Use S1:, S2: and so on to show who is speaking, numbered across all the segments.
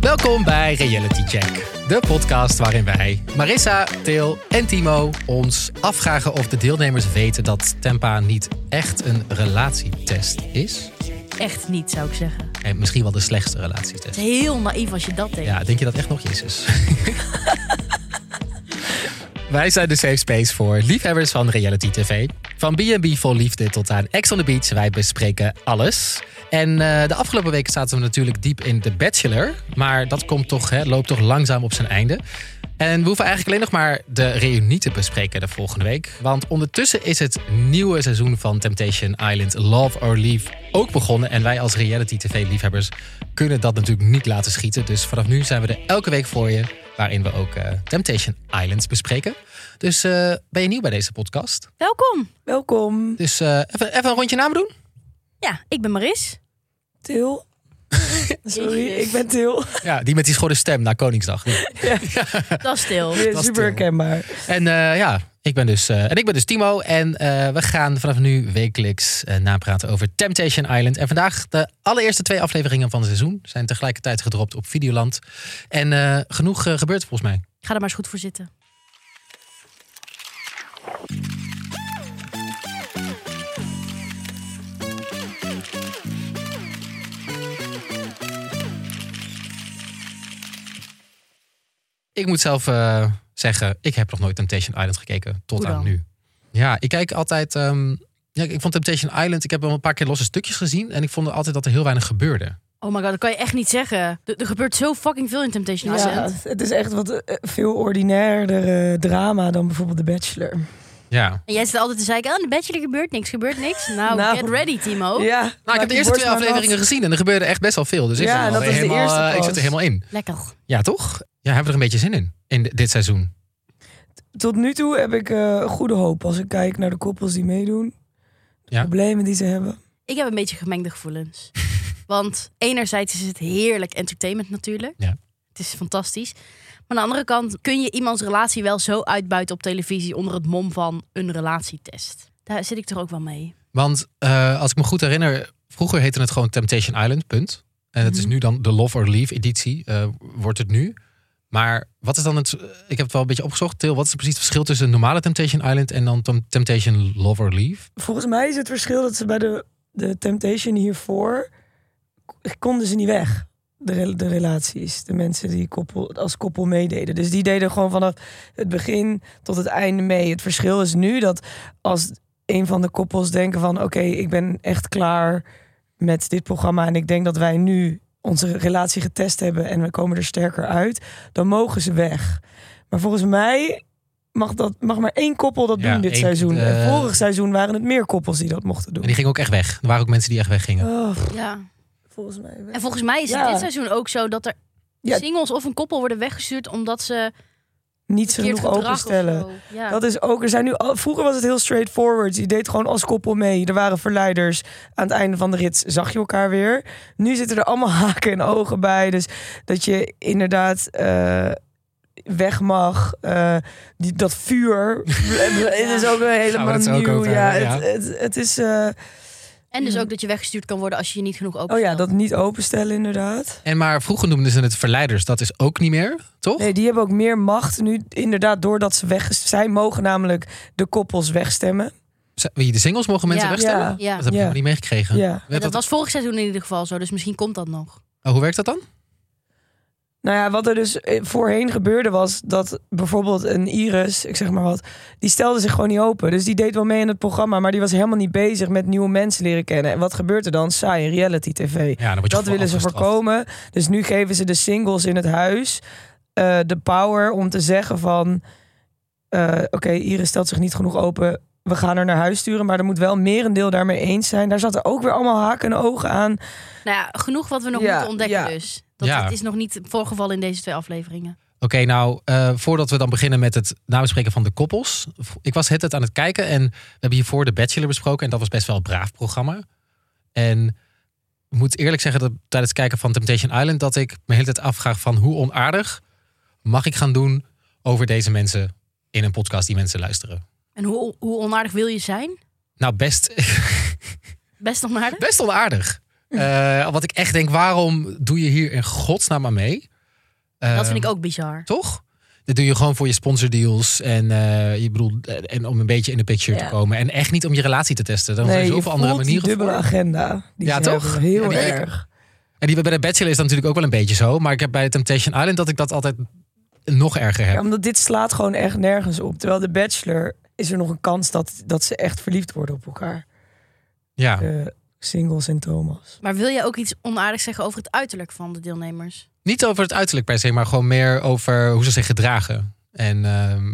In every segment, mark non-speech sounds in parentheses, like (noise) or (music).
S1: Welkom bij Reality Check, de podcast waarin wij, Marissa, Til en Timo, ons afvragen of de deelnemers weten dat Tempa niet echt een relatietest is.
S2: Echt niet, zou ik zeggen.
S1: En misschien wel de slechtste relatietest.
S2: Het is heel naïef als je dat denkt.
S1: Ja, denk je dat echt nog, Jezus? Wij zijn de safe space voor liefhebbers van reality tv. Van B&B vol liefde tot aan Ex on the Beach. Wij bespreken alles. En eh, de afgelopen weken zaten we natuurlijk diep in The Bachelor. Maar dat komt toch, hè, loopt toch langzaam op zijn einde. En we hoeven eigenlijk alleen nog maar de reunie te bespreken de volgende week. Want ondertussen is het nieuwe seizoen van Temptation Island Love or Leave ook begonnen. En wij als reality tv-liefhebbers kunnen dat natuurlijk niet laten schieten. Dus vanaf nu zijn we er elke week voor je. Waarin we ook eh, Temptation Island bespreken. Dus eh, ben je nieuw bij deze podcast?
S2: Welkom.
S3: Welkom,
S1: Dus eh, even, even een rondje namen doen.
S2: Ja, ik ben
S1: (laughs)
S2: Maris.
S3: Til. Sorry,
S2: Jezus.
S3: ik ben Til.
S1: Ja, die met die schorre stem na Koningsdag.
S2: Dat is stil.
S3: Dit
S1: was
S3: is
S1: Til.
S3: super herkenbaar.
S1: En eh, ja, ik ben dus, eh, en ik ben dus Timo. En eh, we gaan vanaf nu wekelijks eh, napraten over Temptation Island. En vandaag de allereerste twee afleveringen van het seizoen zijn tegelijkertijd gedropt op Videoland. En eh, genoeg eh, gebeurt volgens mij.
S2: Ga er maar eens goed voor zitten.
S1: Ik moet zelf eh, zeggen, ik heb nog nooit Temptation Island gekeken tot
S2: Hoe
S1: aan
S2: dan?
S1: nu. Ja, ik kijk altijd. ehm, ja, ik vond Temptation Island, ik heb wel een paar keer losse stukjes gezien. En ik vond altijd dat er heel weinig gebeurde.
S2: Oh my god, dat kan je echt niet zeggen. Er, er gebeurt zo fucking veel in Temptation
S3: Ja,
S2: Island.
S3: het is echt wat eh, veel ordinairder eh, drama dan bijvoorbeeld The Bachelor.
S1: Ja.
S2: En jij zit altijd te zeiken, oh, de Bachelor gebeurt niks, gebeurt (laughs) niks. Nou,
S3: Nou.
S2: get ready, Timo.
S3: Ja,
S1: Nou,
S3: maak
S1: ik heb de
S3: die
S1: eerste
S3: borst
S1: twee
S3: maar
S1: afleveringen
S3: nat.
S1: gezien en er gebeurde echt best wel veel. Dus ik,
S3: Ja,
S1: ben al
S3: dat was de
S1: helemaal,
S3: eerste
S1: eh, ik zit
S3: pas.
S1: er helemaal in.
S2: Lekker.
S1: Ja, toch? Ja, hebben we er een beetje zin in, in di- dit seizoen.
S3: Tot nu toe heb ik eh, goede hoop als ik kijk naar de koppels die meedoen. De
S1: Ja.
S3: problemen die ze hebben.
S2: Ik heb een beetje gemengde
S1: (laughs)
S2: gevoelens. Want enerzijds is het heerlijk entertainment natuurlijk.
S1: Ja.
S2: Het is fantastisch. Maar aan de andere kant kun je iemands relatie wel zo uitbuiten op televisie onder het mom van een relatietest. Daar zit ik toch ook wel mee.
S1: Want eh, als ik me goed herinner, vroeger heette het gewoon Temptation Island, punt. En
S3: Mhm.
S1: het is nu dan de Love or Leave editie, eh, wordt het nu. Maar wat is dan het, ik heb het wel een beetje opgezocht, Til, wat is precies het verschil tussen een normale Temptation Island en dan Tem- Temptation Love or Leave?
S3: Volgens mij is het verschil dat ze bij de, de Temptation hiervoor... k- konden ze niet weg, de, rel- de relaties. De mensen die koppel, als koppel meededen. Dus die deden gewoon vanaf het begin tot het einde mee. Het verschil is nu dat als een van de koppels denken van... oké, ik ben echt klaar met dit programma... en ik denk dat wij nu onze relatie getest hebben... en we komen er sterker uit, dan mogen ze weg. Maar volgens mij... Mag, dat, mag maar één koppel dat
S1: Ja,
S3: doen dit
S1: één-
S3: seizoen.
S1: eh,
S3: en vorig seizoen waren het meer koppels die dat mochten
S1: En
S3: doen.
S1: die gingen ook echt weg. Er waren ook mensen die echt weggingen.
S3: Oh,
S2: Ja.
S3: volgens mij.
S2: En volgens mij is het
S3: Ja.
S2: dit seizoen ook zo dat er
S3: Ja.
S2: singles of een koppel worden weggestuurd omdat ze
S3: niet zo
S2: verkeerd
S3: genoeg
S2: gedrag
S3: openstellen.
S2: of zo. Ja.
S3: Dat is ook, er zijn nu, al- vroeger was het heel straightforward. Je deed gewoon als koppel mee. Er waren verleiders. Aan het einde van de rits zag je elkaar weer. Nu zitten er allemaal (laughs) haken en ogen bij. Dus dat je inderdaad eh, weg mag. Eh, die, dat vuur. (laughs) Het is ook weer helemaal
S1: het zo ook
S3: nieuw.
S1: over
S3: ja,
S1: hebben,
S3: het, het, het is. eh,
S2: En dus ook dat je weggestuurd kan worden als je je niet genoeg
S3: oh
S2: openstelt.
S3: ja, dat niet openstellen inderdaad.
S1: En maar vroeger noemden ze het verleiders, dat is ook niet meer, toch?
S3: Nee, die hebben ook meer macht nu. Inderdaad, doordat ze weg. Zij mogen namelijk de koppels wegstemmen.
S1: Z- wie- De singles mogen mensen
S2: Ja.
S1: wegstellen?
S3: Ja.
S2: Ja.
S1: Dat heb ik
S3: Ja.
S1: nog niet meegekregen.
S3: Ja.
S1: Werd
S2: dat
S1: dat-
S2: was vorig seizoen in ieder geval zo, dus misschien komt dat nog.
S1: Oh, hoe werkt dat dan?
S3: Nou ja, wat er dus eh, voorheen gebeurde was dat bijvoorbeeld een Iris, ik zeg maar wat, die stelde zich gewoon niet open. Dus die deed wel mee in het programma, maar die was helemaal niet bezig met nieuwe mensen leren kennen. En wat gebeurt er dan? Saaie reality tv.
S1: Ja, dan word je
S3: Dat
S1: gewoon
S3: willen ze
S1: afgestraft.
S3: voorkomen. Dus nu geven ze de singles in het huis eh, de power om te zeggen van... eh, Oké, Iris stelt zich niet genoeg open. We gaan haar naar huis sturen. Maar er moet wel merendeel daarmee eens zijn. Daar zaten ook weer allemaal haken en ogen aan.
S2: Nou ja, genoeg wat we nog
S3: Ja,
S2: moeten ontdekken
S3: ja.
S2: dus. Dat
S1: Ja.
S2: het is nog niet voorgevallen in deze twee afleveringen.
S1: Oké, nou, eh, voordat we dan beginnen met het nabespreken van de koppels. Ik was het aan het kijken en we hebben hiervoor de Bachelor besproken. En dat was best wel een braaf programma. En ik moet eerlijk zeggen dat tijdens het kijken van Temptation Island... dat ik me hele tijd afvraag van hoe onaardig mag ik gaan doen over deze mensen... in een podcast die mensen luisteren.
S2: En hoe, hoe onaardig wil je zijn?
S1: Nou, best, (laughs)
S2: Best onaardig?
S1: best onaardig. Eh, wat ik echt denk, waarom doe je hier in godsnaam aan mee?
S2: dat vind ik ook bizar.
S1: Toch? Dat doe je gewoon voor je sponsordeals en, eh, je bedoelt, eh, en om een beetje in de picture
S3: Ja.
S1: te komen. En echt niet om je relatie te testen. Dan zijn
S3: nee,
S1: er
S3: je
S1: zoveel andere
S3: voelt die
S1: manieren
S3: dubbele
S1: voor.
S3: agenda. Die
S1: Ja,
S3: ze
S1: toch?
S3: hebben, Heel
S1: Ja, die-
S3: erg.
S1: En die bij de Bachelor is dat natuurlijk ook wel een beetje zo. Maar ik heb bij Temptation Island dat ik dat altijd nog erger heb.
S3: Ja, omdat dit slaat gewoon echt nergens op. Terwijl de Bachelor is er nog een kans dat, dat ze echt verliefd worden op elkaar.
S1: Ja.
S3: De singles en Thomas.
S2: Maar wil jij ook iets onaardigs zeggen over het uiterlijk van de deelnemers?
S1: Niet over het uiterlijk per se, maar gewoon meer over hoe ze zich gedragen. En ehm,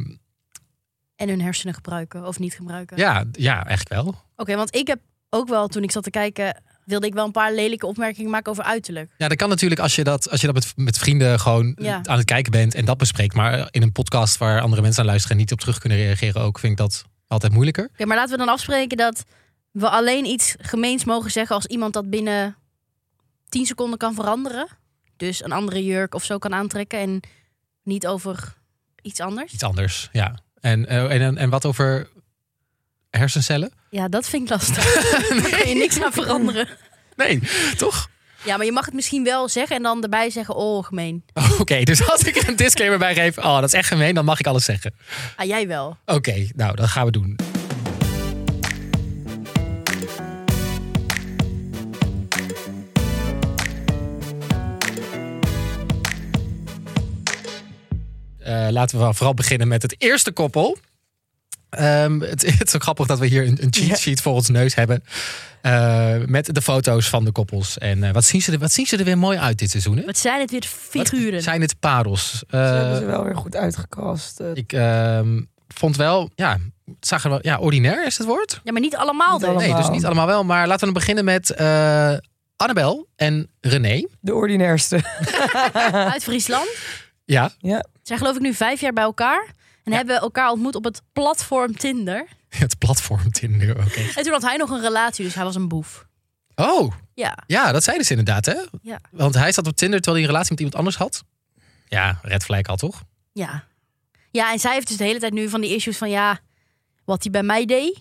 S2: En hun hersenen gebruiken of niet gebruiken?
S1: ja, ja, eigenlijk wel.
S2: Oké, want ik heb ook wel, toen ik zat te kijken, wilde ik wel een paar lelijke opmerkingen maken over uiterlijk.
S1: Ja, dat kan natuurlijk als je dat, als je dat met, met vrienden gewoon
S2: Ja.
S1: aan het kijken bent en dat bespreekt. Maar in een podcast waar andere mensen aan luisteren en niet op terug kunnen reageren ook, vind ik dat altijd moeilijker.
S2: Oké, maar laten we dan afspreken dat we alleen iets gemeens mogen zeggen als iemand dat binnen 10 seconden kan veranderen. Dus een andere jurk of zo kan aantrekken en niet over iets anders.
S1: Iets anders, ja. En, eh, en, en, en wat over hersencellen?
S2: Ja, dat vind ik (laughs) lastig. Daar kun je niks aan veranderen.
S1: Nee, toch?
S2: Ja, maar je mag het misschien wel zeggen en dan erbij zeggen, oh, gemeen.
S1: Oh, (laughs) Oké, dus als ik er een disclaimer bij geef, oh, dat is echt gemeen, dan mag ik alles zeggen.
S2: Ah, jij wel.
S1: Oké, nou, dat gaan we doen. Eh, laten we dan vooral beginnen met het eerste koppel. Ehm, het, (laughs) het is ook grappig dat we hier een, een cheat sheet voor ons neus hebben. Eh, met de foto's van de koppels. En eh, wat, zien ze er, wat zien ze er weer mooi uit dit seizoen? Hè?
S2: Wat zijn het weer
S1: Wat
S2: figuren?
S1: zijn het parels?
S3: Ze
S1: Eh,
S3: hebben ze wel weer goed uitgekast. Eh,
S1: ik ehm, vond wel, ja, het zag er wel, ja, ordinair is het woord.
S2: Ja, maar niet allemaal
S3: Niet
S2: dus.
S3: allemaal.
S1: Nee, dus niet allemaal wel. Maar laten we dan beginnen met eh Annabel en René.
S3: De ordinairste. (laughs)
S2: Uit Friesland.
S1: Ja,
S2: Ze zijn geloof ik nu vijf jaar bij elkaar. En hebben elkaar ontmoet op het platform Tinder.
S1: (laughs) het platform Tinder. Oké.
S2: En toen had hij nog een relatie, dus hij was een boef.
S1: Oh,
S2: Ja,
S1: ja, dat zeiden ze inderdaad, hè?
S2: Ja.
S1: Want hij zat op Tinder terwijl hij een relatie met iemand anders had. Ja, red flag al toch?
S2: ja. Ja, en zij heeft dus de hele tijd nu van die issues van ja, wat hij bij mij deed,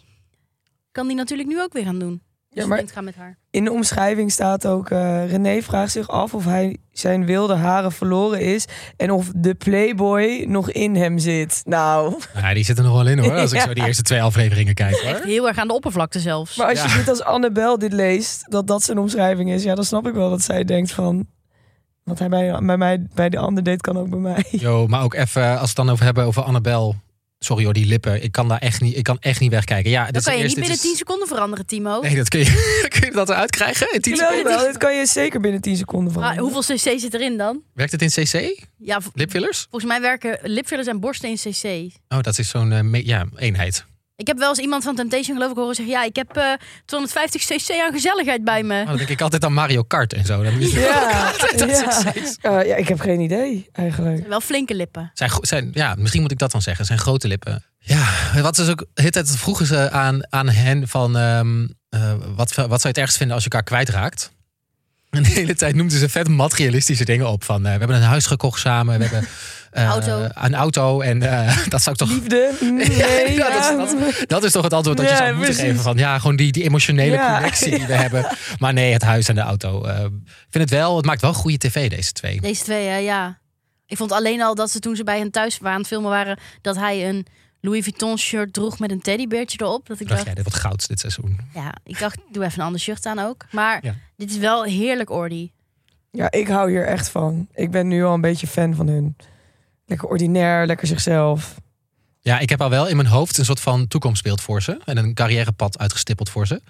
S2: kan die natuurlijk nu ook weer gaan doen. Dus
S3: Ja, maar
S2: gaan met haar.
S3: in de omschrijving staat ook... eh, René vraagt zich af of hij zijn wilde haren verloren is... en of de playboy nog in hem zit. Nou, (laughs)
S1: Ja, die zit er nog wel in hoor. Als (laughs) ik
S3: Ja.
S1: zo die eerste twee afleveringen kijk (laughs)
S2: Echt
S1: hoor.
S2: heel erg aan de oppervlakte zelfs.
S3: maar als
S1: Ja.
S3: je dit als Annabel dit leest... dat dat zijn omschrijving is, ja, dan snap ik wel dat zij denkt van... wat hij bij, bij, mij, bij de ander deed, kan ook bij mij.
S1: Yo, maar ook even, als we het dan over hebben over Annabel. Sorry hoor, die lippen. Ik kan daar echt niet, ik kan echt niet wegkijken. Ja,
S2: dat
S1: is
S2: kan je
S1: dus eerst-
S2: niet
S1: dit
S2: binnen
S1: is-
S2: 10 seconden veranderen, Timo.
S1: Nee, dat kun je, (laughs) kun je dat eruit krijgen? In 10
S3: Jawel,
S1: seconden?
S3: jawel, dit kan je zeker binnen 10 seconden
S2: Maar
S3: van.
S2: hoeveel cc zit erin dan?
S1: Werkt het in CC?
S2: Ja, v-
S1: Lipfillers?
S2: volgens mij werken lipfillers en borsten in cc.
S1: Oh, dat is zo'n eh, me- ja, eenheid.
S2: Ik heb wel eens iemand van Temptation geloof ik horen zeggen... ja, ik heb eh, 250 cc aan gezelligheid bij me.
S1: Oh, dan denk ik altijd aan Mario Kart en zo. Dan is (laughs) het-
S3: Ja, ja.
S1: is-
S3: Eh, ja, ik heb geen idee eigenlijk.
S2: Wel flinke lippen.
S1: Zijn, gro- zijn, ja, misschien moet ik dat dan zeggen. Zijn grote lippen. Ja, wat is ook. de hele tijd vroegen ze aan, aan hen van. ehm, eh, wat, wat zou je het ergst vinden als je elkaar kwijtraakt? En de hele tijd noemden ze vet materialistische dingen op. Van eh, we hebben een huis gekocht samen. We hebben eh,
S2: Auto.
S1: een auto. En eh, (laughs) dat zou ik toch.
S3: Liefde? mm, Nee,
S1: (laughs) Ja, dat is-
S3: ja.
S1: Dat is toch het antwoord dat je
S3: Ja,
S1: zou moeten
S3: precies.
S1: geven. Van ja, gewoon die, die emotionele
S3: Ja,
S1: connectie
S3: (laughs)
S1: die we hebben. Maar nee, het huis en de auto. eh, Ik vind het wel. Het maakt wel goede tv, deze twee.
S2: Deze twee, hè, ja. Ik vond alleen al dat ze toen ze bij hen thuis waren, aan het filmen waren... dat hij een Louis Vuitton shirt droeg met een teddybeertje erop. Dat ik
S1: Dacht
S2: dacht,
S1: jij, dit wordt goud dit seizoen.
S2: ja, ik dacht, doe even een ander shirt aan ook. Maar
S1: Ja.
S2: dit is wel heerlijk ordy.
S3: Ja, ik hou hier echt van. Ik ben nu al een beetje fan van hun. Lekker ordinair, lekker zichzelf.
S1: Ja, ik heb al wel in mijn hoofd een soort van toekomstbeeld voor ze. En een carrièrepad uitgestippeld voor ze.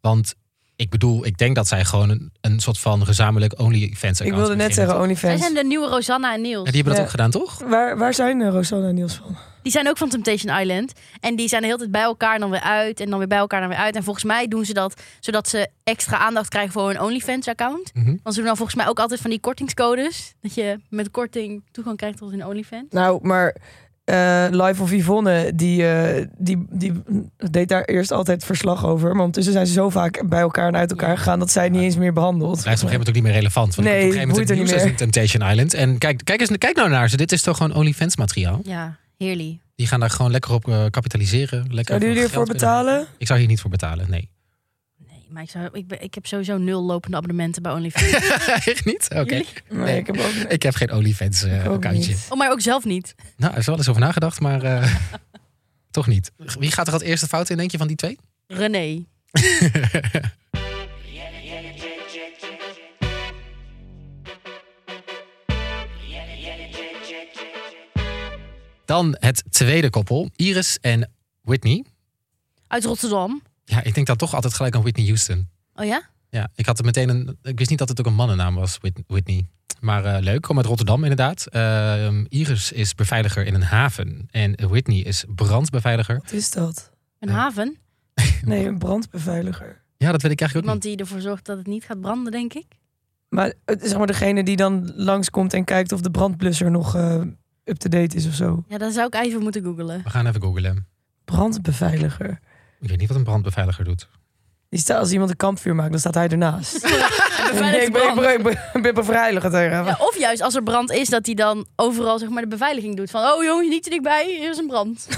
S1: Want ik bedoel, ik denk dat zij gewoon een, een soort van gezamenlijk OnlyFans
S3: ik wilde net zeggen
S2: Zij
S3: OnlyFans.
S2: zijn de nieuwe Rosanna en Niels.
S1: Ja, die hebben dat
S3: Ja.
S1: ook gedaan, toch?
S3: Waar, waar zijn eh, Rosanna en Niels van?
S2: Die zijn ook van Temptation Island. En die zijn de hele tijd bij elkaar en dan weer uit. En dan weer bij elkaar en dan weer uit. En volgens mij doen ze dat zodat ze extra aandacht krijgen voor hun OnlyFans-account.
S1: Mhm.
S2: Want ze doen dan volgens mij ook altijd van die kortingscodes. Dat je met korting toegang krijgt tot hun OnlyFans.
S3: Nou, maar eh, Life of Yvonne, die, eh, die, die deed daar eerst altijd verslag over. Maar ondertussen zijn ze zo vaak bij elkaar en uit elkaar gegaan... dat zij het niet eens meer behandeld.
S1: Het blijft op een gegeven moment ook niet meer relevant. Want
S3: Nee,
S1: ik heb op een gegeven moment
S3: boeit
S1: het
S3: er
S1: nieuws
S3: niet
S1: gezien, Temptation Island. En kijk, kijk, eens, kijk nou naar ze. Dit is toch gewoon OnlyFans materiaal.
S2: Ja, heerlijk.
S1: Die gaan daar gewoon lekker op eh, kapitaliseren. Lekker
S3: Zouden
S1: veel
S3: jullie ervoor
S1: geld binnen.
S3: betalen?
S1: Ik zou hier niet voor betalen, nee. (laughs)
S2: Nee. Nee, maar ik, zou, ik, ben, ik heb sowieso nul lopende abonnementen bij OnlyFans.
S1: Echt niet? (laughs) Oké.
S2: Jullie?
S3: Nee,
S1: Nee.
S3: ik heb ook
S1: Ik heb geen
S3: ook
S1: OnlyFans-accountje.
S3: niet.
S2: Oh, maar ook zelf niet.
S1: nou, er is wel eens over nagedacht, maar eh, (laughs) toch niet. Wie gaat er als eerste fout in, denk je, van die twee? (laughs)
S2: René.
S1: Dan het tweede koppel, Iris en Whitney.
S2: Uit Rotterdam.
S1: Ja, ik denk dan toch altijd gelijk aan Whitney Houston.
S2: Oh ja?
S1: Ja, ik had er meteen een. Ik wist niet dat het ook een mannennaam was, Whit- Whitney. Maar eh, leuk, kom uit Rotterdam inderdaad. Ehm, Iris is beveiliger in een haven. En Whitney is brandbeveiliger.
S3: Wat is dat?
S2: Een
S1: Ja.
S2: haven.
S3: Nee, een brandbeveiliger.
S1: (laughs) Ja, dat weet ik eigenlijk ook
S2: Iemand die ervoor zorgt dat het niet gaat branden, denk ik.
S3: Maar eh, zeg maar degene die dan langskomt en kijkt of de brandblusser nog eh, up-to-date is of zo.
S2: Ja, daar zou ik even moeten googelen.
S1: niet. We gaan even googlen.
S3: Brandbeveiliger.
S1: Ik weet niet wat een brandbeveiliger (laughs) doet.
S3: Die staat, als iemand een kampvuur maakt, dan staat hij ernaast.
S2: (laughs) Beveiligd
S3: ik, ben, ik,
S2: brand.
S3: ben, ik ben- ik ben beveiliger tegen.
S2: Ja, of juist als er brand is, dat hij dan overal zeg maar, de beveiliging doet. Van, oh jongens, niet te dichtbij, hier is een brand.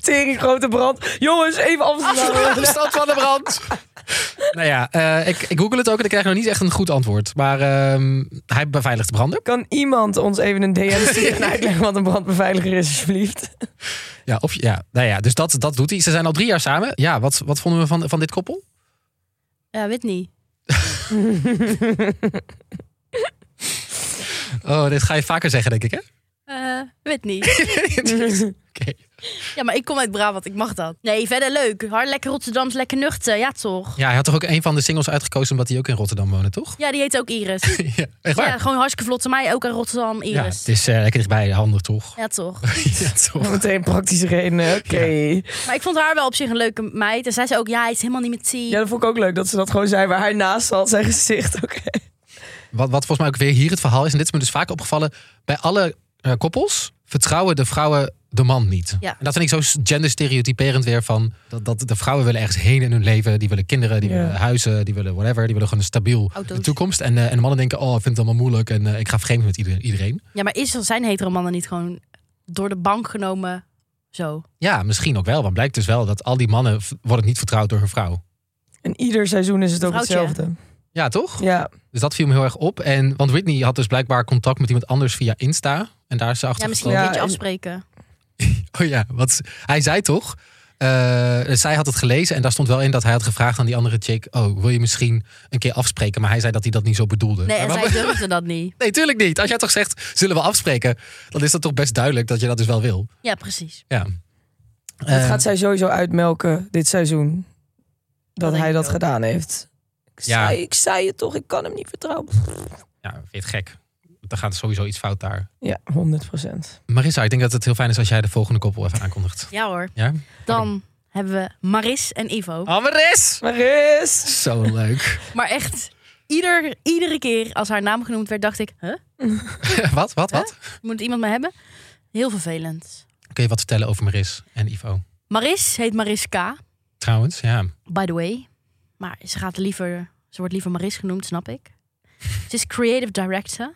S3: Tering grote brand. Jongens, even Amsterdam.
S1: De stad van de brand. (laughs) nou ja, eh, ik, ik google het ook en ik krijg nog niet echt een goed antwoord. Maar ehm, hij beveiligt branden.
S3: Kan iemand ons even een
S2: (laughs)
S3: DM sturen en uitleggen wat een brandbeveiliger is, alsjeblieft?
S1: Ja, of, ja, nou ja, dus dat, dat doet hij. Ze zijn al drie jaar samen. Ja, wat, wat vonden we van, van dit koppel?
S2: Ja, weet niet.
S1: Oh, dit ga je vaker zeggen, denk ik, hè?
S2: Eh, weet niet.
S1: Oké.
S2: Ja, maar ik kom uit Brabant, ik mag dat. Nee, verder leuk. Hard lekker Rotterdams, lekker nuchter. Ja, toch?
S1: Ja, hij had toch ook een van de singles uitgekozen omdat hij ook in Rotterdam woonde, toch?
S2: Ja, die heet ook Iris.
S1: (laughs) ja, echt waar?
S2: Ja, gewoon hartstikke vlotte mij, ook uit Rotterdam,
S1: Ja,
S2: Iris.
S1: het is eh, lekker dichtbij, handig toch?
S2: Ja, toch?
S1: (laughs) ja, toch?
S3: Meteen praktische redenen. Oké.
S2: Maar ik vond haar wel op zich een leuke meid. En zij zei ook, ja, hij is helemaal niet met tea.
S3: Ja, dat vond ik ook leuk dat ze dat gewoon zei waar hij naast zat, zijn gezicht. Oké.
S1: Wat, wat volgens mij ook weer hier het verhaal is, en dit is me dus vaak opgevallen, bij alle eh, koppels vertrouwen de vrouwen de man niet.
S2: Ja.
S1: En dat vind ik zo genderstereotyperend weer van, dat, dat de vrouwen willen ergens heen in hun leven, die willen kinderen, die
S3: Ja.
S1: willen huizen, die willen whatever, die willen gewoon een stabiel
S2: Auto's.
S1: de toekomst. En, eh, en de mannen denken, oh, ik vind het allemaal moeilijk en eh, ik ga vreemd met ieder- iedereen.
S2: Ja, maar is er zijn hetero mannen niet gewoon door de bank genomen zo?
S1: Ja, misschien ook wel, want blijkt dus wel dat al die mannen v- worden niet vertrouwd door hun vrouw.
S3: En ieder seizoen is het ook
S2: Vrouwtje.
S3: hetzelfde.
S1: Ja, toch?
S3: Ja.
S1: Dus dat viel me heel erg op. En, want Whitney had dus blijkbaar contact met iemand anders via Insta. En daar is ze achter
S2: Ja, misschien
S1: gekomen.
S2: een
S3: Ja,
S2: beetje
S3: en-
S2: afspreken.
S1: (laughs) Oh ja, wat, hij zei toch? eh, zij had het gelezen en daar stond wel in dat hij had gevraagd aan die andere chick... oh, wil je misschien een keer afspreken? Maar hij zei dat hij dat niet zo bedoelde.
S2: Nee, en
S1: Maar
S2: zij
S1: wat-
S2: durfde dat niet.
S1: nee, tuurlijk niet. Als jij toch zegt, zullen we afspreken... dan is dat toch best duidelijk dat je dat dus wel wil.
S2: Ja, precies.
S1: Ja.
S3: Dat
S2: Ehm,
S1: Eh,
S3: gaat zij sowieso uitmelken dit seizoen. Dat,
S2: denk
S3: hij
S2: ik
S3: dat
S2: ook.
S3: gedaan heeft. Ik,
S1: Ja.
S3: zei, ik zei het toch, ik kan hem niet vertrouwen.
S1: ja, vind je het gek? Dan gaat sowieso iets fout daar.
S3: Ja, 100 procent.
S1: Marissa, ik denk dat het heel fijn is als jij de volgende koppel even aankondigt.
S2: Ja hoor.
S1: Ja?
S2: Dan hebben we Maris en Ivo.
S1: Oh, Maris!
S3: Maris!
S1: Zo leuk. (laughs)
S2: Maar echt, ieder, iedere keer als haar naam genoemd werd, dacht ik... Huh?
S1: wat, wat, wat?
S2: Moet iemand me hebben? Heel vervelend.
S1: Kun je wat vertellen over Maris en Ivo?
S2: Maris heet Maris K,
S1: Trouwens, ja.
S2: by the way. Maar ze, gaat liever, ze wordt liever Maris genoemd,
S1: (laughs)
S2: snap ik. Ze is creative director.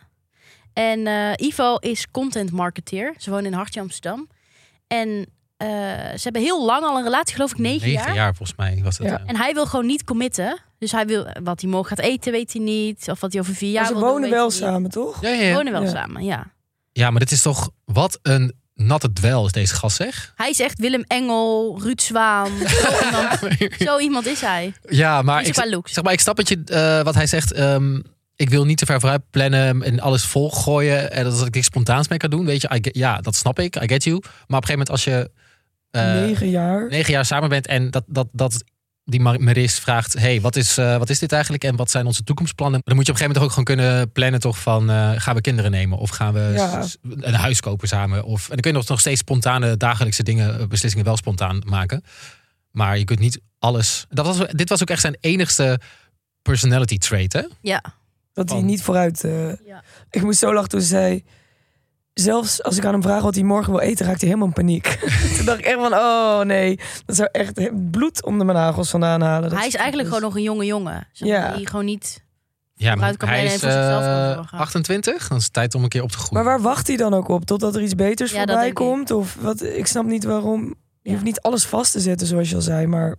S2: En eh, Ivo is content marketeer. Ze woont in Hartje, Amsterdam. En eh, ze hebben heel lang al een relatie, geloof ik, negen, jaar.
S1: volgens mij was eh. dat.
S3: Ja.
S1: Ja.
S2: En hij wil gewoon niet committen. Dus hij wil wat hij morgen gaat eten, weet hij niet. Of wat hij over vier jaar
S3: Maar ze
S2: wil doen,
S3: wonen
S2: weet
S3: wel
S2: hij niet.
S3: samen, toch?
S1: Ja, ja,
S2: Ze
S1: ja.
S2: wonen wel
S3: Ja.
S2: samen, ja.
S1: Ja, maar dit is toch wat een natte dwel is deze gast zeg.
S2: (laughs) Hij is echt Willem Engel, Ruud
S1: (laughs)
S2: Zwaan. zo, iemand, zo iemand is hij.
S1: ja, maar
S2: Niet
S1: ik,
S2: qua looks.
S1: zeg maar, ik snap het je, eh, wat hij zegt. ehm, ik wil niet te ver vooruit plannen en alles volgooien. En dat ik niks spontaans mee kan doen. Weet je, I get- ja, dat snap ik. I get you. Maar op een gegeven moment als je eh,
S3: Negen jaar.
S1: negen jaar samen bent en dat, dat, dat die Mar- Maris vraagt: hey, wat, is, eh, wat is dit eigenlijk en wat zijn onze toekomstplannen? Dan moet je op een gegeven moment ook gewoon kunnen plannen, toch? Van eh, gaan we kinderen nemen of gaan we
S3: Ja.
S1: s- een huis kopen samen? Of, en dan kun je nog, nog steeds spontane dagelijkse dingen, eh, beslissingen wel spontaan maken. Maar je kunt niet alles. Dat was, dit was ook echt zijn enigste personality trait, hè?
S2: Ja.
S3: Dat hij
S1: Want-
S3: niet vooruit... eh,
S2: Ja.
S3: Ik moest zo lachen toen ze zei... Zelfs als ik aan hem vraag wat hij morgen wil eten, raakt hij helemaal in
S2: (laughs)
S3: paniek. toen dacht ik echt van, oh nee. Dat zou echt bloed onder mijn nagels vandaan halen. Dat
S2: Hij is eigenlijk gewoon nog een jonge jongen. Zeg maar,
S3: Ja.
S2: Die gewoon niet...
S1: Ja,
S2: Vooruit kan
S1: hij
S2: plannen
S1: is
S2: en voor zichzelf
S1: eh,
S2: kan zorgen.
S1: 28, dan is het tijd om een keer op te
S3: Maar
S1: groeien.
S3: waar wacht hij dan ook op? Totdat er iets beters
S2: Ja, dat
S3: voorbij
S2: denk ik.
S3: komt? Of wat? Ik snap niet waarom. Je
S2: Ja.
S3: hoeft niet alles vast te zetten, zoals je al zei. Maar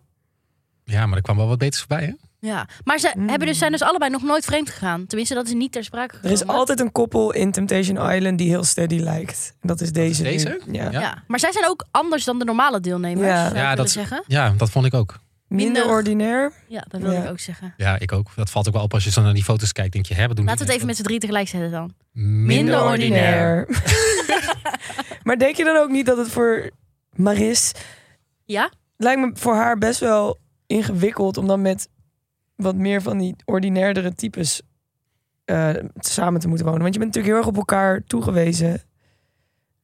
S1: Ja, maar er kwam wel wat beters voorbij, hè?
S2: Ja. Maar ze
S3: Mm.
S2: hebben dus, zijn dus allebei nog nooit vreemd gegaan. Tenminste, dat is niet ter sprake
S3: Er
S2: gekomen.
S3: is altijd een koppel in Temptation Island die heel steady lijkt. En dat is deze. nu.
S1: deze?
S3: Ja.
S1: Ja.
S2: ja. Maar zij zijn ook anders dan de normale deelnemers,
S3: Ja.
S2: zou ik
S1: Ja,
S2: willen
S1: dat-
S2: zeggen.
S1: Ja, dat vond ik ook.
S3: Minder
S2: Minder-
S3: ordinair.
S2: Ja, dat wil
S3: Ja.
S2: ik ook zeggen.
S1: Ja, ik ook. Dat valt ook wel op als je zo naar die foto's kijkt. Denk je, hè, wat doen
S2: Laten we
S1: die
S2: het even met z'n drie tegelijk zetten dan.
S1: mensen?
S2: Minder ordinair.
S3: (laughs) maar denk je dan ook niet dat het voor Maris
S2: Ja?
S3: lijkt me voor haar best wel ingewikkeld om dan met wat meer van die ordinairdere types eh, samen te moeten wonen. Want je bent natuurlijk heel erg op elkaar toegewezen.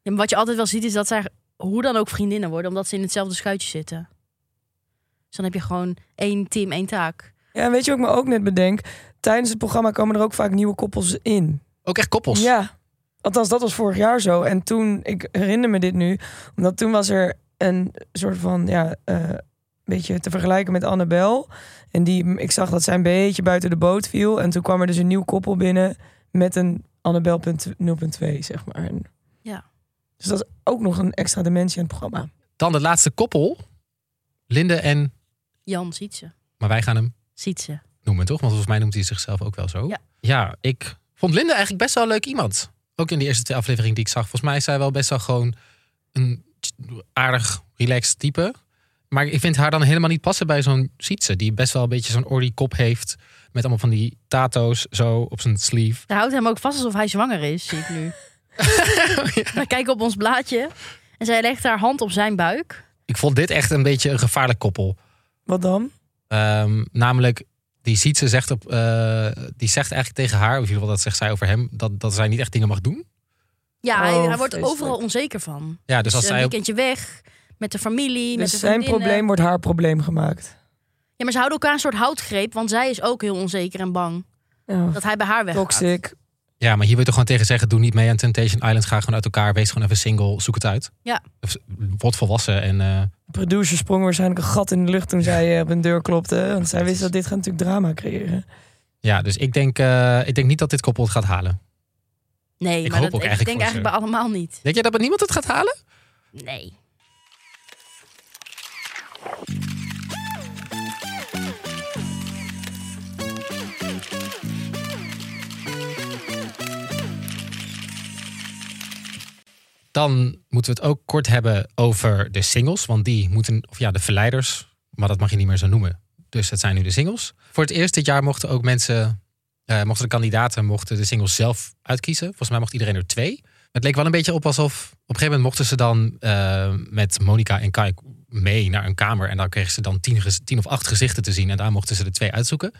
S2: Ja, maar wat je altijd wel ziet is dat zij hoe dan ook vriendinnen worden, omdat ze in hetzelfde schuitje zitten. Dus dan heb je gewoon één team, één taak.
S3: Ja, en weet je wat ik me ook net bedenk? Tijdens het programma komen er ook vaak nieuwe koppels in.
S1: Ook echt koppels.
S3: Ja, althans dat was vorig jaar zo. En toen, ik herinner me dit nu, omdat toen was er een soort van, ja, eh, beetje te vergelijken met Annabel. En die, ik zag dat zij een beetje buiten de boot viel. En toen kwam er dus een nieuw koppel binnen met een Annabel punt- 0.2, zeg maar. En-
S2: Ja.
S3: Dus dat is ook nog een extra dimensie aan het programma.
S1: Dan de laatste koppel. Linde en...
S2: Jan ziet ze.
S1: Maar wij gaan hem
S2: Ziet ze.
S1: noemen, toch? Want volgens mij noemt hij zichzelf ook wel zo.
S2: Ja.
S1: Ja, ik vond Linde eigenlijk best wel een leuk iemand. Ook in de eerste twee afleveringen die ik zag. Volgens mij is zij wel best wel gewoon een aardig, relaxed type. Maar ik vind haar dan helemaal niet passen bij zo'n Sietse. Die best wel een beetje zo'n ordy kop heeft. Met allemaal van die tato's zo op zijn sleeve.
S2: Hij houdt hem ook vast alsof hij zwanger is, zie ik
S1: (laughs)
S2: nu. (laughs) We kijken op ons blaadje. En zij legt haar hand op zijn buik.
S1: Ik vond dit echt een beetje een gevaarlijk koppel.
S3: Wat dan?
S1: Ehm, namelijk, die Sietse zegt, op, eh, die zegt eigenlijk tegen haar... of in ieder geval dat zegt zij over hem... dat, dat zij niet echt dingen mag doen.
S2: Ja, hij,
S3: Oh,
S2: hij wordt
S3: vreselijk.
S2: overal onzeker van.
S1: Ja, dus, als
S2: Dus een
S1: zij op
S2: weekendje weg, met de familie, met de
S3: Dus zijn
S2: vriendinnen.
S3: probleem wordt haar probleem gemaakt.
S2: Ja, maar ze houden elkaar een soort houtgreep, want zij is ook heel onzeker en bang.
S3: Ja,
S2: Dat hij bij haar weggaat.
S3: toxic.
S1: Ja, maar hier wil je toch gewoon tegen zeggen: doe niet mee aan Temptation Island. Ga gewoon uit elkaar. Wees gewoon even single. Zoek het uit.
S2: Ja.
S1: Of, word volwassen. En, eh,
S3: De producer sprong waarschijnlijk een gat in de lucht toen zij eh, op een deur klopte. Want zij wist dat dit gaat natuurlijk drama creëren.
S1: ja, dus ik denk, eh, ik denk niet dat dit koppel het gaat halen.
S2: Nee,
S1: Ik
S2: maar
S1: hoop
S2: dat,
S1: ook
S2: ik
S1: eigenlijk
S2: denk
S1: voor
S2: eigenlijk bij allemaal niet.
S1: Denk jij dat niemand het gaat halen?
S2: Nee.
S1: Dan moeten we het ook kort hebben over de singles. Want die moeten, of ja, de verleiders. Maar dat mag je niet meer zo noemen. Dus dat zijn nu de singles. Voor het eerst dit jaar mochten ook mensen, eh, mochten de kandidaten, mochten de singles zelf uitkiezen. Volgens mij mocht iedereen er twee. Het leek wel een beetje op alsof op een gegeven moment mochten ze dan eh, met Monica en Kai mee naar een kamer. En daar kregen ze dan tien, gez- tien of acht gezichten te zien. En daar mochten ze de twee uitzoeken.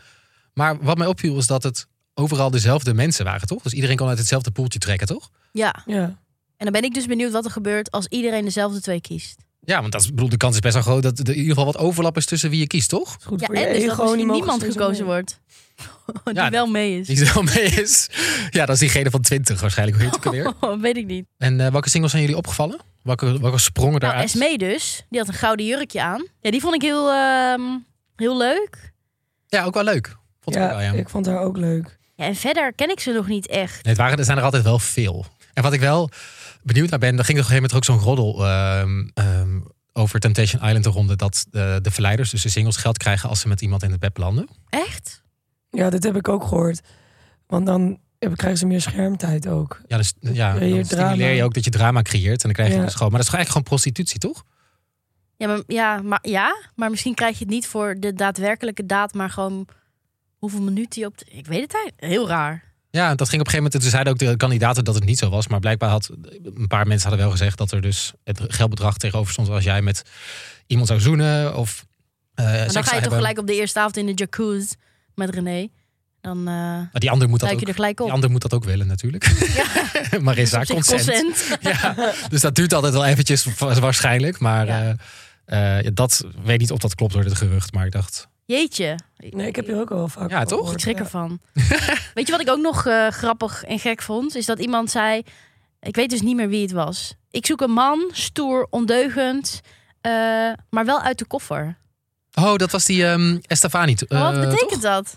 S1: Maar wat mij opviel was dat het overal dezelfde mensen waren, toch? Dus iedereen kon uit hetzelfde poeltje trekken, toch?
S2: Ja,
S3: Ja.
S2: en dan ben ik dus benieuwd wat er gebeurt als iedereen dezelfde twee kiest.
S1: Ja, want dat is, ik bedoel, de kans is best wel groot dat er in ieder geval wat overlap is tussen wie je kiest, toch?
S3: Is goed
S2: Ja,
S3: voor je
S2: en dus
S3: ego,
S2: dat
S3: die
S2: misschien
S3: mogen
S2: niemand
S3: steeds
S2: gekozen
S3: omheen.
S2: wordt. (laughs) Die
S1: Ja,
S2: wel mee is.
S1: Die er wel (laughs) mee is. Ja, dat is diegene van 20 waarschijnlijk. Hoe heet het ook alweer?
S2: Oh, Weet ik niet.
S1: En eh, welke singles zijn jullie opgevallen? Welke, welke sprongen
S2: Nou,
S1: daaruit?
S2: Esmee dus, die had een gouden jurkje aan. Ja, die vond ik heel, ehm, heel leuk.
S1: Ja, ook wel leuk. Vond ik ook wel,
S3: Ja,
S1: ja.
S3: ik vond haar ook leuk.
S2: Ja, en verder ken ik ze nog niet echt.
S1: Nee, het waren, er zijn er altijd wel veel. En wat ik wel benieuwd naar ben, dan ging er op een gegeven moment ook zo'n roddel ehm, ehm, over Temptation Island te ronden. Dat eh, de verleiders, dus de singles, geld krijgen als ze met iemand in het bed landen.
S2: Echt?
S3: Ja, dit heb ik ook gehoord. Want dan heb- krijgen ze meer schermtijd ook.
S1: Ja, dus ja,
S3: Creëer
S1: dan stimuleer je
S3: drama.
S1: ook dat je drama creëert. En dan krijg je
S3: Ja.
S1: dus gewoon. Maar dat is eigenlijk gewoon prostitutie, toch?
S2: Ja maar, ja, maar, ja, maar misschien krijg je het niet voor de daadwerkelijke daad, maar gewoon hoeveel minuten je op... de- Ik weet het eigenlijk. Heel raar.
S1: Ja, dat ging op een gegeven moment. Toen zeiden ook de kandidaten dat het niet zo was. Maar blijkbaar had een paar mensen hadden wel gezegd dat er dus het geldbedrag tegenover stond als jij met iemand zou zoenen of. eh, seks
S2: Maar
S1: zou
S2: dan ga je toch
S1: hebben.
S2: gelijk op de eerste avond in de jacuzzi met René. Dan eh
S1: Maar Die ander moet dat
S2: duik je
S1: ook.
S2: er gelijk op.
S1: Die ander moet dat ook willen natuurlijk. (laughs)
S2: (laughs)
S1: maar is
S2: Dus op
S1: daar
S2: zich
S1: consent.
S2: consent.
S1: (laughs) Ja, dus dat duurt altijd wel eventjes wa- waarschijnlijk. Maar
S2: Ja.
S1: eh, eh, ja, dat weet niet of dat klopt door het gerucht. Maar ik dacht,
S2: (laughs) Jeetje.
S3: Nee, ik heb hier ook al wel vaak
S1: Ja,
S3: van
S1: toch?
S3: gehoord,
S2: Ik schrik
S3: ja.
S1: (laughs)
S2: ervan. weet je wat ik ook nog eh, grappig en gek vond? Is dat iemand zei... Ik weet dus niet meer wie het was. Ik zoek een man, stoer, ondeugend... eh, maar wel uit de koffer.
S1: oh, dat was die ehm Estefani. eh,
S2: Oh, wat betekent
S1: toch?
S2: dat? dus?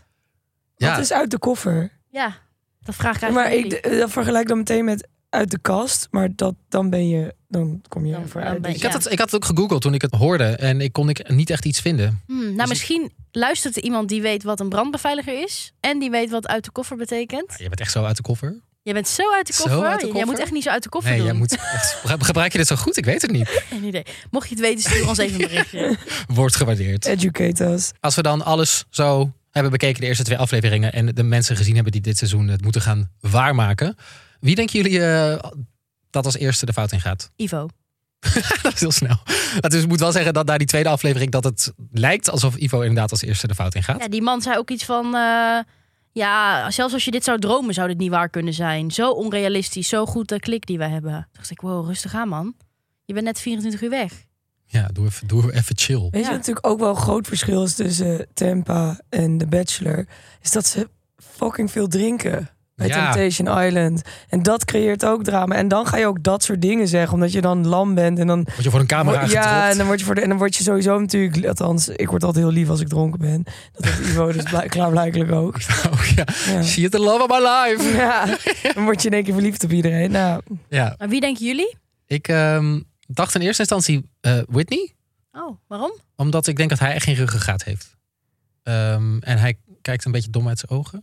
S1: Ja,
S3: Wat is uit de koffer?
S2: Ja, dat vraag ik
S3: maar
S2: eigenlijk
S3: ik,
S2: jullie.
S3: dat vergelijk dan meteen met uit de kast, maar dat, dan ben je, dan kom je
S2: Dan-
S3: ervoor
S2: dan
S3: uit.
S2: ben
S3: weet
S1: Ik,
S2: je-
S3: je.
S1: had het, ik had het ook gegoogeld toen ik het hoorde en ik kon ik niet echt iets vinden.
S2: Hmm, nou,
S1: Dus-
S2: misschien luistert er iemand die weet wat een brandbeveiliger is. En die weet wat uit de koffer betekent.
S1: Je bent echt zo uit de koffer.
S2: Je bent zo uit de
S1: Zo
S2: koffer.
S1: uit de
S2: Jij
S1: koffer?
S2: moet echt niet zo uit de koffer
S1: Nee, jij
S2: doen. (laughs)
S1: moet echt, gebru- gebruik je dit zo goed? Ik weet het niet.
S2: Geen idee. Mocht je het weten, stuur ons even een berichtje.
S1: Wordt
S2: Eh.
S1: gewaardeerd.
S3: Educate us.
S1: Als we dan alles zo hebben bekeken, de eerste twee afleveringen... en de mensen gezien hebben die dit seizoen het moeten gaan waarmaken... wie denken jullie eh, dat als eerste de fout in gaat? (laughs)
S2: Ivo.
S1: dat is heel snel. Dat dus ik moet wel zeggen dat na die tweede aflevering... dat het lijkt alsof Ivo inderdaad als eerste de fout in gaat.
S2: Ja, die man zei ook iets van... eh, ja, zelfs als je dit zou dromen, zou dit niet waar kunnen zijn. Zo onrealistisch, zo goed de klik die we hebben. Toen dacht ik, wow, rustig aan man. Je bent net 24 uur weg.
S1: Ja, doe even, doe even chill.
S3: Weet je
S2: Ja.
S3: wat natuurlijk ook wel een groot verschil is tussen Tampa en The Bachelor? Is dat ze fucking veel drinken bij
S1: Ja.
S3: Temptation Island. En dat creëert ook drama. En dan ga je ook dat soort dingen zeggen, omdat je dan lam bent en dan
S1: Word je voor een camera
S3: Ja, en
S1: getropt.
S3: dan, word je voor de, en dan word je sowieso natuurlijk... Althans, ik word altijd heel lief als ik dronken ben. Dat heeft Ivo dus blijk- klaarblijkelijk ook.
S2: nou-
S1: (laughs) Oh, ja.
S3: Ja.
S1: She is the love of my life.
S3: Ja, dan word je in één keer verliefd op iedereen. Nou,
S1: Ja,
S2: Maar wie denken jullie?
S1: ik ehm, dacht in eerste instantie eh, Whitney...
S2: Oh, waarom?
S1: Omdat ik denk dat hij echt geen ruggengraat heeft. Ehm, en hij kijkt een beetje dom uit zijn ogen.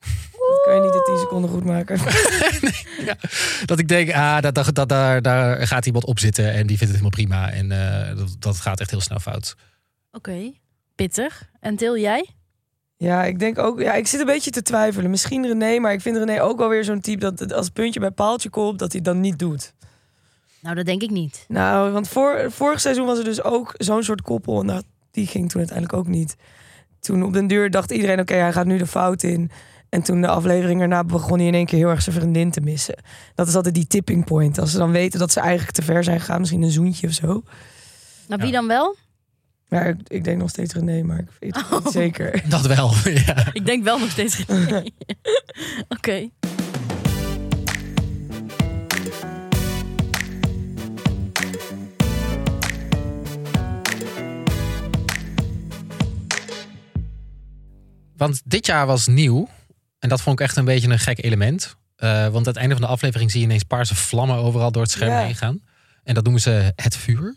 S3: dat kan je niet in 10 seconden goed maken.
S1: Dat ik denk, ah, dat, dat, dat- daar, daar gaat iemand op zitten en die vindt het helemaal prima. En eh, dat, dat gaat echt heel snel fout. (laughs)
S2: Oké, pittig. En Til, jij?
S3: Ja, ik denk ook... Ja, ik zit een beetje te twijfelen. Misschien René, maar ik vind René ook wel weer zo'n type... dat het als het puntje bij paaltje komt, dat hij het dan niet doet.
S2: Nou, dat denk ik niet.
S3: Nou, want voor, vorig seizoen was er dus ook zo'n soort koppel. En dat, die ging toen uiteindelijk ook niet. Toen op den duur dacht iedereen, oké, hij gaat nu de fout in. En toen de aflevering erna begon hij in één keer heel erg zijn vriendin te missen. Dat is altijd die tipping point. Als ze dan weten dat ze eigenlijk te ver zijn gegaan. Misschien een zoentje of zo.
S2: Nou,
S1: Ja.
S2: wie dan wel?
S3: Maar ik, ik denk nog steeds René, maar ik weet het niet
S2: Oh.
S3: zeker.
S1: Dat wel, (laughs) ja.
S2: (laughs) Ik denk wel nog steeds geen idee. (laughs) Oké.
S1: Want dit jaar was nieuw. En dat vond ik echt een beetje een gek element. Eh, want aan het einde van de aflevering zie je ineens paarse vlammen overal door het scherm
S3: Ja.
S1: heen gaan. En dat noemen ze het vuur.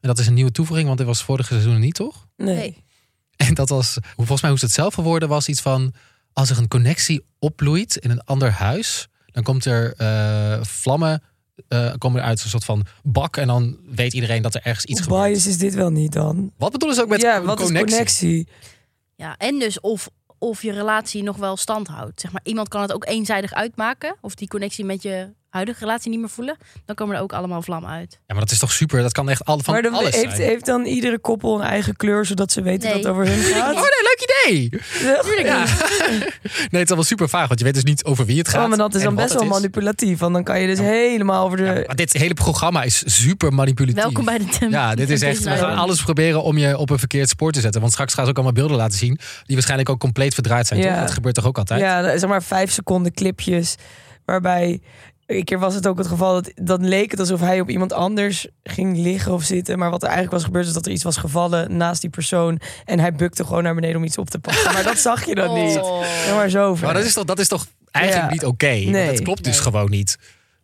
S1: En dat is een nieuwe toevoeging, want dit was vorige seizoen niet, toch?
S3: Nee.
S2: Nee.
S1: (laughs) En dat was, hoe- volgens mij hoe ze het zelf verwoorden was, iets van... als er een connectie opbloeit in een ander huis... dan komt er eh, vlammen eh, komen er uit een soort van bak... en dan weet iedereen dat er ergens iets
S3: Hoe
S1: gebeurt.
S3: biased is dit wel niet dan?
S1: Wat bedoelen ze ook met
S3: ja,
S1: een
S3: wat is connectie?
S2: Ja, en dus of, of je relatie nog wel stand houdt. Zeg maar, iemand kan het ook eenzijdig uitmaken. Of die connectie met je huidige relatie niet meer voelen. Dan komen er ook allemaal vlammen uit.
S1: Ja, maar dat is toch super? Dat kan echt al, van
S3: Maar dan
S1: alles
S3: heeft,
S1: zijn.
S3: heeft dan iedere koppel een eigen kleur, zodat ze weten
S2: Nee.
S3: dat het over
S2: (laughs)
S3: hun
S1: Oh,
S3: gaat?
S1: nee, leuk idee!
S3: Tuurlijk
S1: Ja. (laughs) nee, het is allemaal super vaag, want je weet dus niet over wie het gaat.
S3: Ja, maar dat is
S1: en
S3: dan
S1: wat
S3: best wel
S1: het is.
S3: manipulatief. Want dan kan je dus helemaal over de...
S1: Ja, maar dit hele programma is super manipulatief.
S2: Welkom bij de Temp.
S1: Ja, dit is echt. We gaan alles proberen om je op een verkeerd spoor te zetten. Want straks gaan ze ook allemaal beelden laten zien. Die waarschijnlijk ook compleet verdraaid zijn.
S3: Ja.
S1: toch? Dat gebeurt toch ook altijd?
S3: Ja, dat- zeg maar vijf seconden clipjes. Waarbij, een keer was het ook het geval, dat dan leek het alsof hij op iemand anders ging liggen of zitten. Maar wat er eigenlijk was gebeurd, is dat er iets was gevallen naast die persoon. En hij bukte gewoon naar beneden om iets op te pakken. Maar dat zag je dan
S2: Oh.
S3: niet. Ja, maar zo ver.
S1: Maar dat is toch, dat is toch eigenlijk
S3: Ja.
S1: niet oké? Want
S3: Nee.
S1: Dat klopt dus
S2: Nee.
S1: gewoon niet.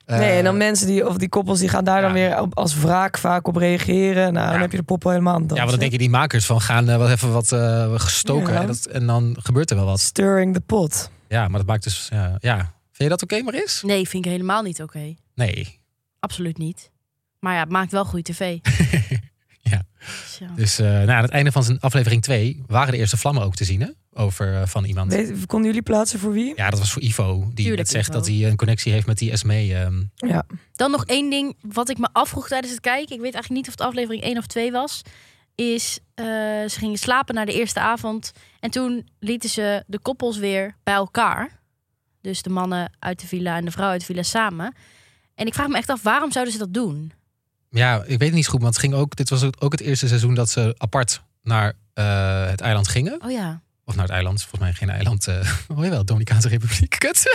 S1: Eh,
S3: Nee, en dan mensen die, of die koppels, die gaan daar dan
S1: Ja.
S3: weer op- als wraak vaak op reageren. Nou,
S1: Ja.
S3: dan heb je de poppel helemaal aan het
S1: ja, want dan
S3: dansen.
S1: denk je die makers van gaan eh, wel even wat eh, gestoken.
S3: Ja.
S1: En, dat, en dan gebeurt er wel wat.
S3: Stirring the pot.
S1: Ja, maar dat maakt dus... Ja, ja. Vind je dat oké, Maris?
S2: Nee, vind ik helemaal niet oké.
S1: Nee.
S2: Absoluut niet. Maar ja, het maakt wel goede tv.
S1: (laughs) Ja.
S2: Dus ja.
S1: Dus eh, nou, aan het einde van zijn aflevering 2 waren de eerste vlammen ook te zien hè? Over eh, van iemand.
S3: Weet- Konden jullie plaatsen voor wie?
S1: Ja, dat was voor Ivo. Die
S2: Tuurlijk,
S1: net zegt
S2: Ivo.
S1: dat hij een connectie heeft met die Esmee. ehm,
S3: Ja.
S2: Dan nog één ding wat ik me afvroeg tijdens het kijken. Ik weet eigenlijk niet of het aflevering 1 of 2 was. Is eh, ze gingen slapen na de eerste avond. En toen lieten ze de koppels weer bij elkaar. Dus de mannen uit de villa en de vrouw uit de villa samen. En ik vraag me echt af, waarom zouden ze dat doen?
S1: Ja, ik weet het niet zo goed, want het ging ook, dit was ook ook het eerste seizoen dat ze apart naar eh, het eiland gingen.
S2: Oh ja.
S1: Of naar het eiland, volgens mij geen eiland. eh (laughs) oh jawel, Dominicaanse Republiek. Kut. (laughs)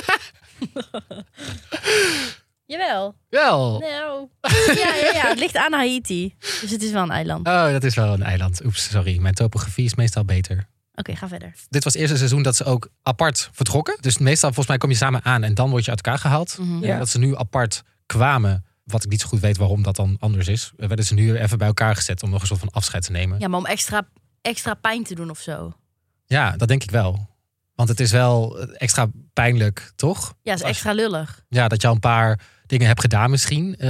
S2: Jawel.
S1: wel.
S2: Nou. (laughs) Ja, ja, ja. Het ligt aan Haiti. Dus het is wel een eiland.
S1: Oh, dat is wel een eiland. Oeps, sorry. Mijn topografie is meestal beter.
S2: ga verder.
S1: Dit was het eerste seizoen dat ze ook apart vertrokken. Dus meestal volgens mij kom je samen aan en dan word je uit elkaar gehaald.
S2: Mhm.
S3: Ja.
S1: En dat ze nu apart kwamen, wat ik niet zo goed weet waarom dat dan anders is, eh, werden ze nu even bij elkaar gezet om nog een soort van afscheid te nemen. Ja,
S2: Ja, maar om extra, extra pijn te doen of zo.
S1: dat denk ik wel. Want het is wel eh, extra pijnlijk, toch?
S2: Ja, is
S1: Als-
S2: extra lullig.
S1: Ja, dat je al een paar dingen hebt gedaan misschien, eh,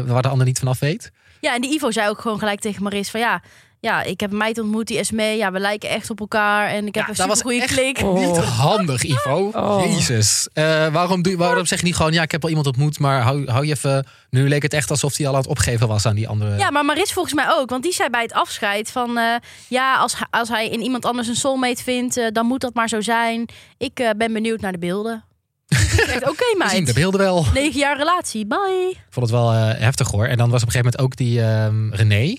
S1: waar de ander niet vanaf weet.
S2: Ja, en die Ivo zei ook gewoon gelijk tegen Maris van ja, ja ik heb een meid ontmoet, die Esmee. Ja, we lijken echt op elkaar en ik
S1: Ja,
S2: heb een
S1: dat was
S2: super goede
S1: echt-
S2: klik.
S3: Oh.
S1: Niet handig, Ivo.
S3: Oh.
S1: Jezus. Eh, waarom, doe, waarom zeg je niet gewoon, ja, ik heb al iemand ontmoet, maar hou, hou je even... Nu leek het echt alsof hij al aan het opgeven was aan die andere.
S2: Ja, maar Maris volgens mij ook. Want die zei bij het afscheid van... eh, ja, als, hij- als hij in iemand anders een soulmate vindt... eh, dan moet dat maar zo zijn. Ik eh, ben benieuwd naar de beelden. (laughs) Ik dacht, Oké,
S1: We zien de
S2: meid.
S1: beelden wel.
S2: Negen jaar relatie, bye.
S1: Ik vond het wel eh, heftig hoor. En dan was op een gegeven moment ook die ehm, René.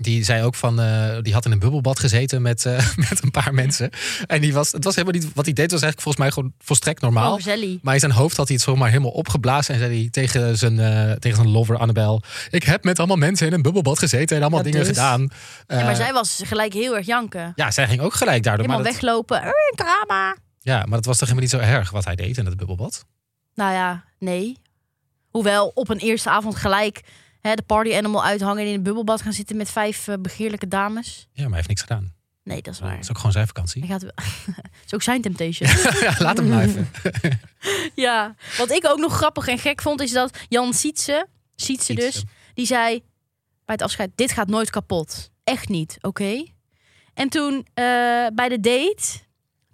S1: Die zei ook van, eh, die had in een bubbelbad gezeten met, eh, (laughs) met een paar mensen. En die was, het was helemaal niet, wat hij deed was eigenlijk volgens mij gewoon volstrekt normaal.
S2: Oh, Zelly.
S1: Maar in zijn hoofd had hij het zomaar helemaal opgeblazen. En zei hij tegen zijn, eh, tegen zijn lover Annabel. Ik heb met allemaal mensen in een bubbelbad gezeten en allemaal
S3: Ja,
S1: dingen
S3: dus.
S1: gedaan.
S2: Ja, maar
S1: Eh,
S2: zij was gelijk heel erg janken.
S1: ja, zij ging ook gelijk daardoor. Maar
S2: Helemaal
S1: dat,
S2: weglopen. Eh, drama.
S1: ja, maar dat was toch helemaal niet zo erg wat hij deed in dat bubbelbad.
S2: Nou ja, nee. Hoewel op een eerste avond gelijk... Hè, de party animal uithangen en in een bubbelbad gaan zitten... met vijf eh, begeerlijke dames.
S1: Ja, maar hij heeft niks gedaan.
S2: Nee, dat is
S1: Dat
S2: waar.
S1: is ook gewoon zijn vakantie. (laughs)
S2: Hij gaat... Het (laughs) is ook zijn (laughs) temptation.
S1: ja, laat hem
S2: (laughs)
S1: blijven.
S2: Ja, wat ik ook nog grappig en gek vond is dat Jan Sietse, Sietse dus, die zei bij het afscheid: dit gaat nooit kapot, echt niet, oké? En toen eh, bij de date,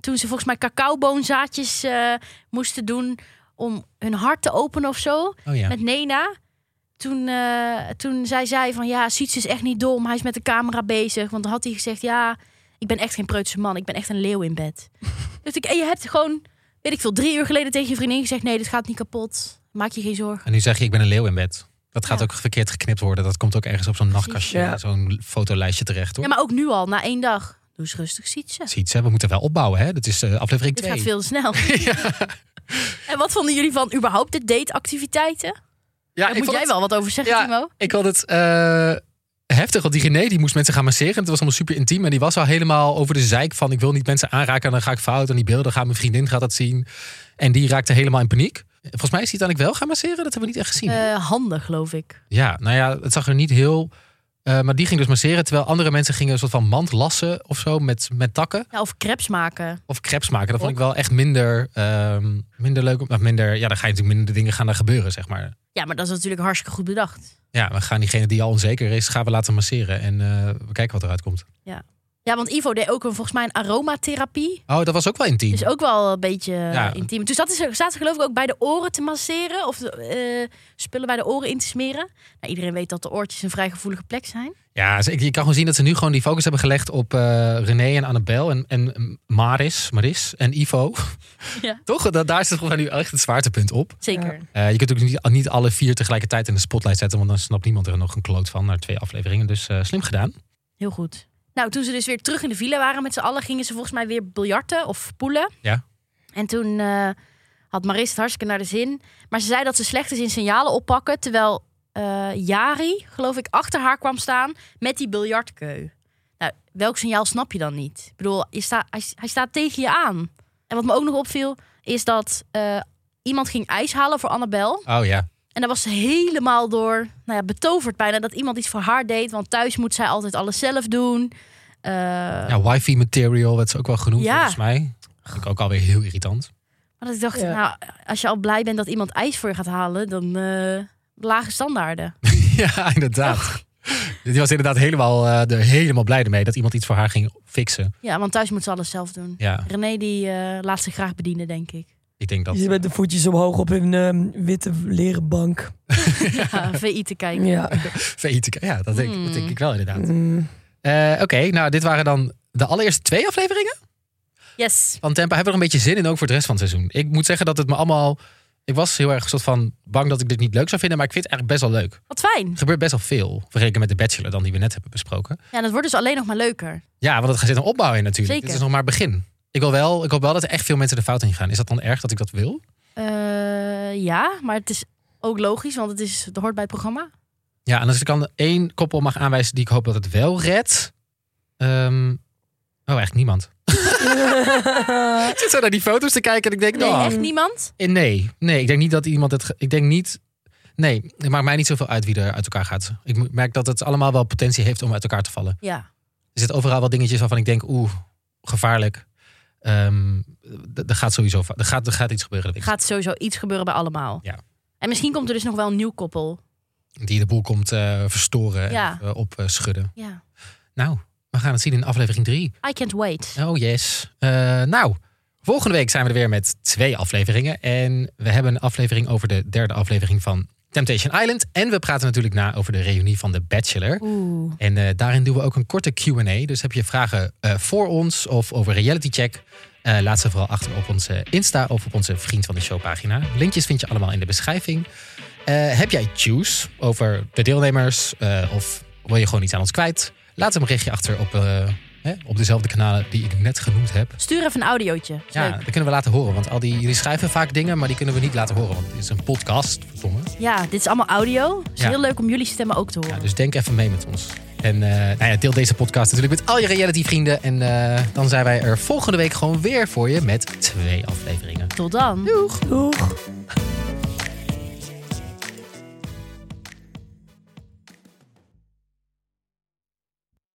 S2: toen ze volgens mij cacaoboonzaadjes eh, moesten doen om hun hart te openen of zo
S1: Oh ja.
S2: met Nena. Toen, eh, toen zij zei van ja, Siets is echt niet dom. Hij is met de camera bezig. Want dan had hij gezegd ja, ik ben echt geen preutse man. Ik ben echt een leeuw in
S1: (laughs)
S2: bed. dus ik, en je hebt gewoon, weet ik veel, drie uur geleden tegen je vriendin gezegd... nee, dit gaat niet kapot. Maak je geen zorgen.
S1: En nu zeg je, ik ben een leeuw in bed. Dat gaat
S2: Ja.
S1: ook verkeerd geknipt worden. Dat komt ook ergens op zo'n nachtkastje,
S3: Ja.
S1: zo'n fotolijstje terecht, hoor.
S2: Ja, maar ook nu al, na één dag. Doe eens rustig, Sietse.
S1: Ziet ze, we moeten wel opbouwen, hè? Dat is eh, aflevering
S2: Dit
S1: 2.
S2: gaat veel te
S1: (laughs)
S2: snel. (laughs) En wat vonden jullie van überhaupt de dateactiviteiten?
S1: Ja,
S2: Daar moet jij wel wat over zeggen,
S1: Ja.
S2: Timo.
S1: Ik vond het eh, heftig, want die René die moest mensen gaan masseren. En het was allemaal super intiem. En die was al helemaal over de zeik van... ik wil niet mensen aanraken, en dan ga ik fout. En die beelden gaan mijn vriendin gaat dat zien. En die raakte helemaal in paniek. Volgens mij is die dan ik wel gaan masseren. Dat hebben we niet echt gezien.
S2: Eh, handen, geloof ik.
S1: Ja, nou ja, het zag er niet heel... eh, maar die ging dus masseren, terwijl andere mensen gingen een soort van mand lassen of zo met, met takken.
S2: Ja, of crepes maken.
S1: of crepes maken. Dat vond ik wel echt minder, ehm, minder leuk. om- Of minder, ja, dan ga je natuurlijk minder dingen gaan er gebeuren, zeg maar.
S2: Ja, maar dat is natuurlijk hartstikke goed bedacht.
S1: Ja, we gaan diegene die al onzeker is, gaan we laten masseren. En eh, we kijken wat eruit komt.
S2: Ja, want Ivo deed ook een, volgens mij een aromatherapie.
S1: Oh, dat was ook wel intiem.
S2: Dus ook wel een beetje
S1: Ja.
S2: eh, intiem. Dus dat is, er- staat ze geloof ik ook bij de oren te masseren. Of eh, spullen bij de oren in te smeren. Nou, iedereen weet dat de oortjes een vrij gevoelige plek zijn.
S1: Ja, ze- je kan gewoon zien dat ze nu gewoon die focus hebben gelegd op eh, René en Annabel en, en Maris, Maris en Ivo.
S2: (laughs) Ja.
S1: Toch? Dat, daar zit volgens mij nu echt het zwaartepunt op.
S2: Zeker.
S1: Eh, je kunt ook niet, niet alle vier tegelijkertijd in de spotlight zetten, want dan snapt niemand er nog een kloot van naar twee afleveringen. Dus eh, slim gedaan.
S2: Heel goed. Nou, toen ze dus weer terug in de villa waren met z'n allen, gingen ze volgens mij weer biljarten of poelen.
S1: Ja.
S2: En toen eh, had Maris het hartstikke naar de zin. Maar ze zei dat ze slecht is in signalen oppakken. Terwijl eh Jari, geloof ik, achter haar kwam staan met die biljartkeu. Nou, welk signaal snap je dan niet? Ik bedoel, je sta, hij, hij staat tegen je aan. En wat me ook nog opviel, is dat eh, iemand ging ijs halen voor Annabel.
S1: Oh ja.
S2: En daar was ze helemaal door nou ja, betoverd bijna dat iemand iets voor haar deed. Want thuis moet zij altijd alles zelf doen. Eh,
S1: Ja, wifi material werd ze ook wel genoemd
S2: Ja.
S1: volgens mij. Vind ik ook alweer heel irritant.
S2: Maar dat ik dacht,
S3: Ja.
S2: nou, als je al blij bent dat iemand ijs voor je gaat halen, dan eh, lage standaarden.
S1: (laughs) ja, inderdaad. Die was inderdaad helemaal, eh, er helemaal blij mee dat iemand iets voor haar ging fixen.
S2: Ja, want thuis moet ze alles zelf doen.
S1: Ja,
S2: René die eh, laat zich graag bedienen, denk ik.
S1: ik denk dat.
S3: Je zit met de voetjes omhoog op een ehm, witte leren bank.
S2: Ja, VI te kijken.
S3: Ja.
S1: (laughs) VI te- Ja, dat denk, dat denk ik
S2: Hmm.
S1: wel inderdaad.
S3: Mm.
S1: Eh, Oké, nou, dit waren dan de allereerste twee afleveringen
S2: Yes.
S1: van Tempa. Hebben we er een beetje zin in ook voor de rest van het seizoen? Ik moet zeggen dat het me allemaal. Ik was heel erg soort van bang dat ik dit niet leuk zou vinden, maar ik vind het eigenlijk best wel leuk.
S2: Wat fijn.
S1: Er gebeurt best wel veel vergeleken met de Bachelor dan die we net hebben besproken.
S2: Ja, dat wordt dus alleen nog maar leuker.
S1: Ja, want het gaat zit een opbouw in natuurlijk.
S2: Zeker.
S1: Dit is nog maar het begin. Ik, wil wel, ik hoop wel dat er echt veel mensen de fout in gaan. Is dat dan erg dat ik dat wil?
S2: Eh, ja, maar het is ook logisch, want het, is, het hoort bij het programma.
S1: Ja, en als ik dan één koppel mag aanwijzen die ik hoop dat het wel redt. ehm, oh, eigenlijk niemand.
S3: (laughs)
S1: Ik zit zo naar die foto's te kijken en ik denk,
S2: Nee,
S1: nou,
S2: echt niemand?
S1: eh, nee, nee, ik denk niet dat iemand het, ge- ik denk niet, nee, het maakt mij niet zoveel uit wie er uit elkaar gaat. Ik m- merk dat het allemaal wel potentie heeft om uit elkaar te vallen.
S2: Ja.
S1: Er zitten overal wel dingetjes waarvan ik denk, oeh, gevaarlijk. Ehm, d- er gaat sowieso, va- er gaat, er gaat iets gebeuren. dat weet ik.
S2: Gaat sowieso iets gebeuren bij allemaal.
S1: Ja.
S2: En misschien komt er dus nog wel een nieuw koppel.
S1: Die de boel komt eh, verstoren
S2: Ja.
S1: en eh, opschudden.
S2: Ja.
S1: nou, we gaan het zien in aflevering 3.
S2: I can't wait.
S1: Oh yes. Eh, nou, volgende week zijn we er weer met twee afleveringen. En we hebben een aflevering over de derde aflevering van Temptation Island. En we praten natuurlijk na over de reunie van The Bachelor.
S2: Oeh.
S1: En eh, daarin doen we ook een korte QA. Dus heb je vragen eh, voor ons of over Reality Check? eh, laat ze vooral achter op onze Insta of op onze Vriend van de Show pagina. Linkjes vind je allemaal in de beschrijving. Eh, heb jij juice over de deelnemers eh, of wil je gewoon iets aan ons kwijt? Laat een berichtje achter op, eh, hè, op dezelfde kanalen die ik net genoemd heb.
S2: Stuur even een audiootje. Is
S1: Ja,
S2: leuk.
S1: dat kunnen we laten horen. Want al die, jullie schrijven vaak dingen, maar die kunnen we niet laten horen. Want het is een podcast, verdomme.
S2: ja, dit is allemaal audio. Het is
S1: Ja.
S2: heel leuk om jullie stemmen ook te horen.
S1: Ja, dus denk even mee met ons. En eh, nou ja, deel deze podcast natuurlijk met al je reality-vrienden. En eh, dan zijn wij er volgende week gewoon weer voor je met twee afleveringen.
S2: Tot dan.
S3: Doeg.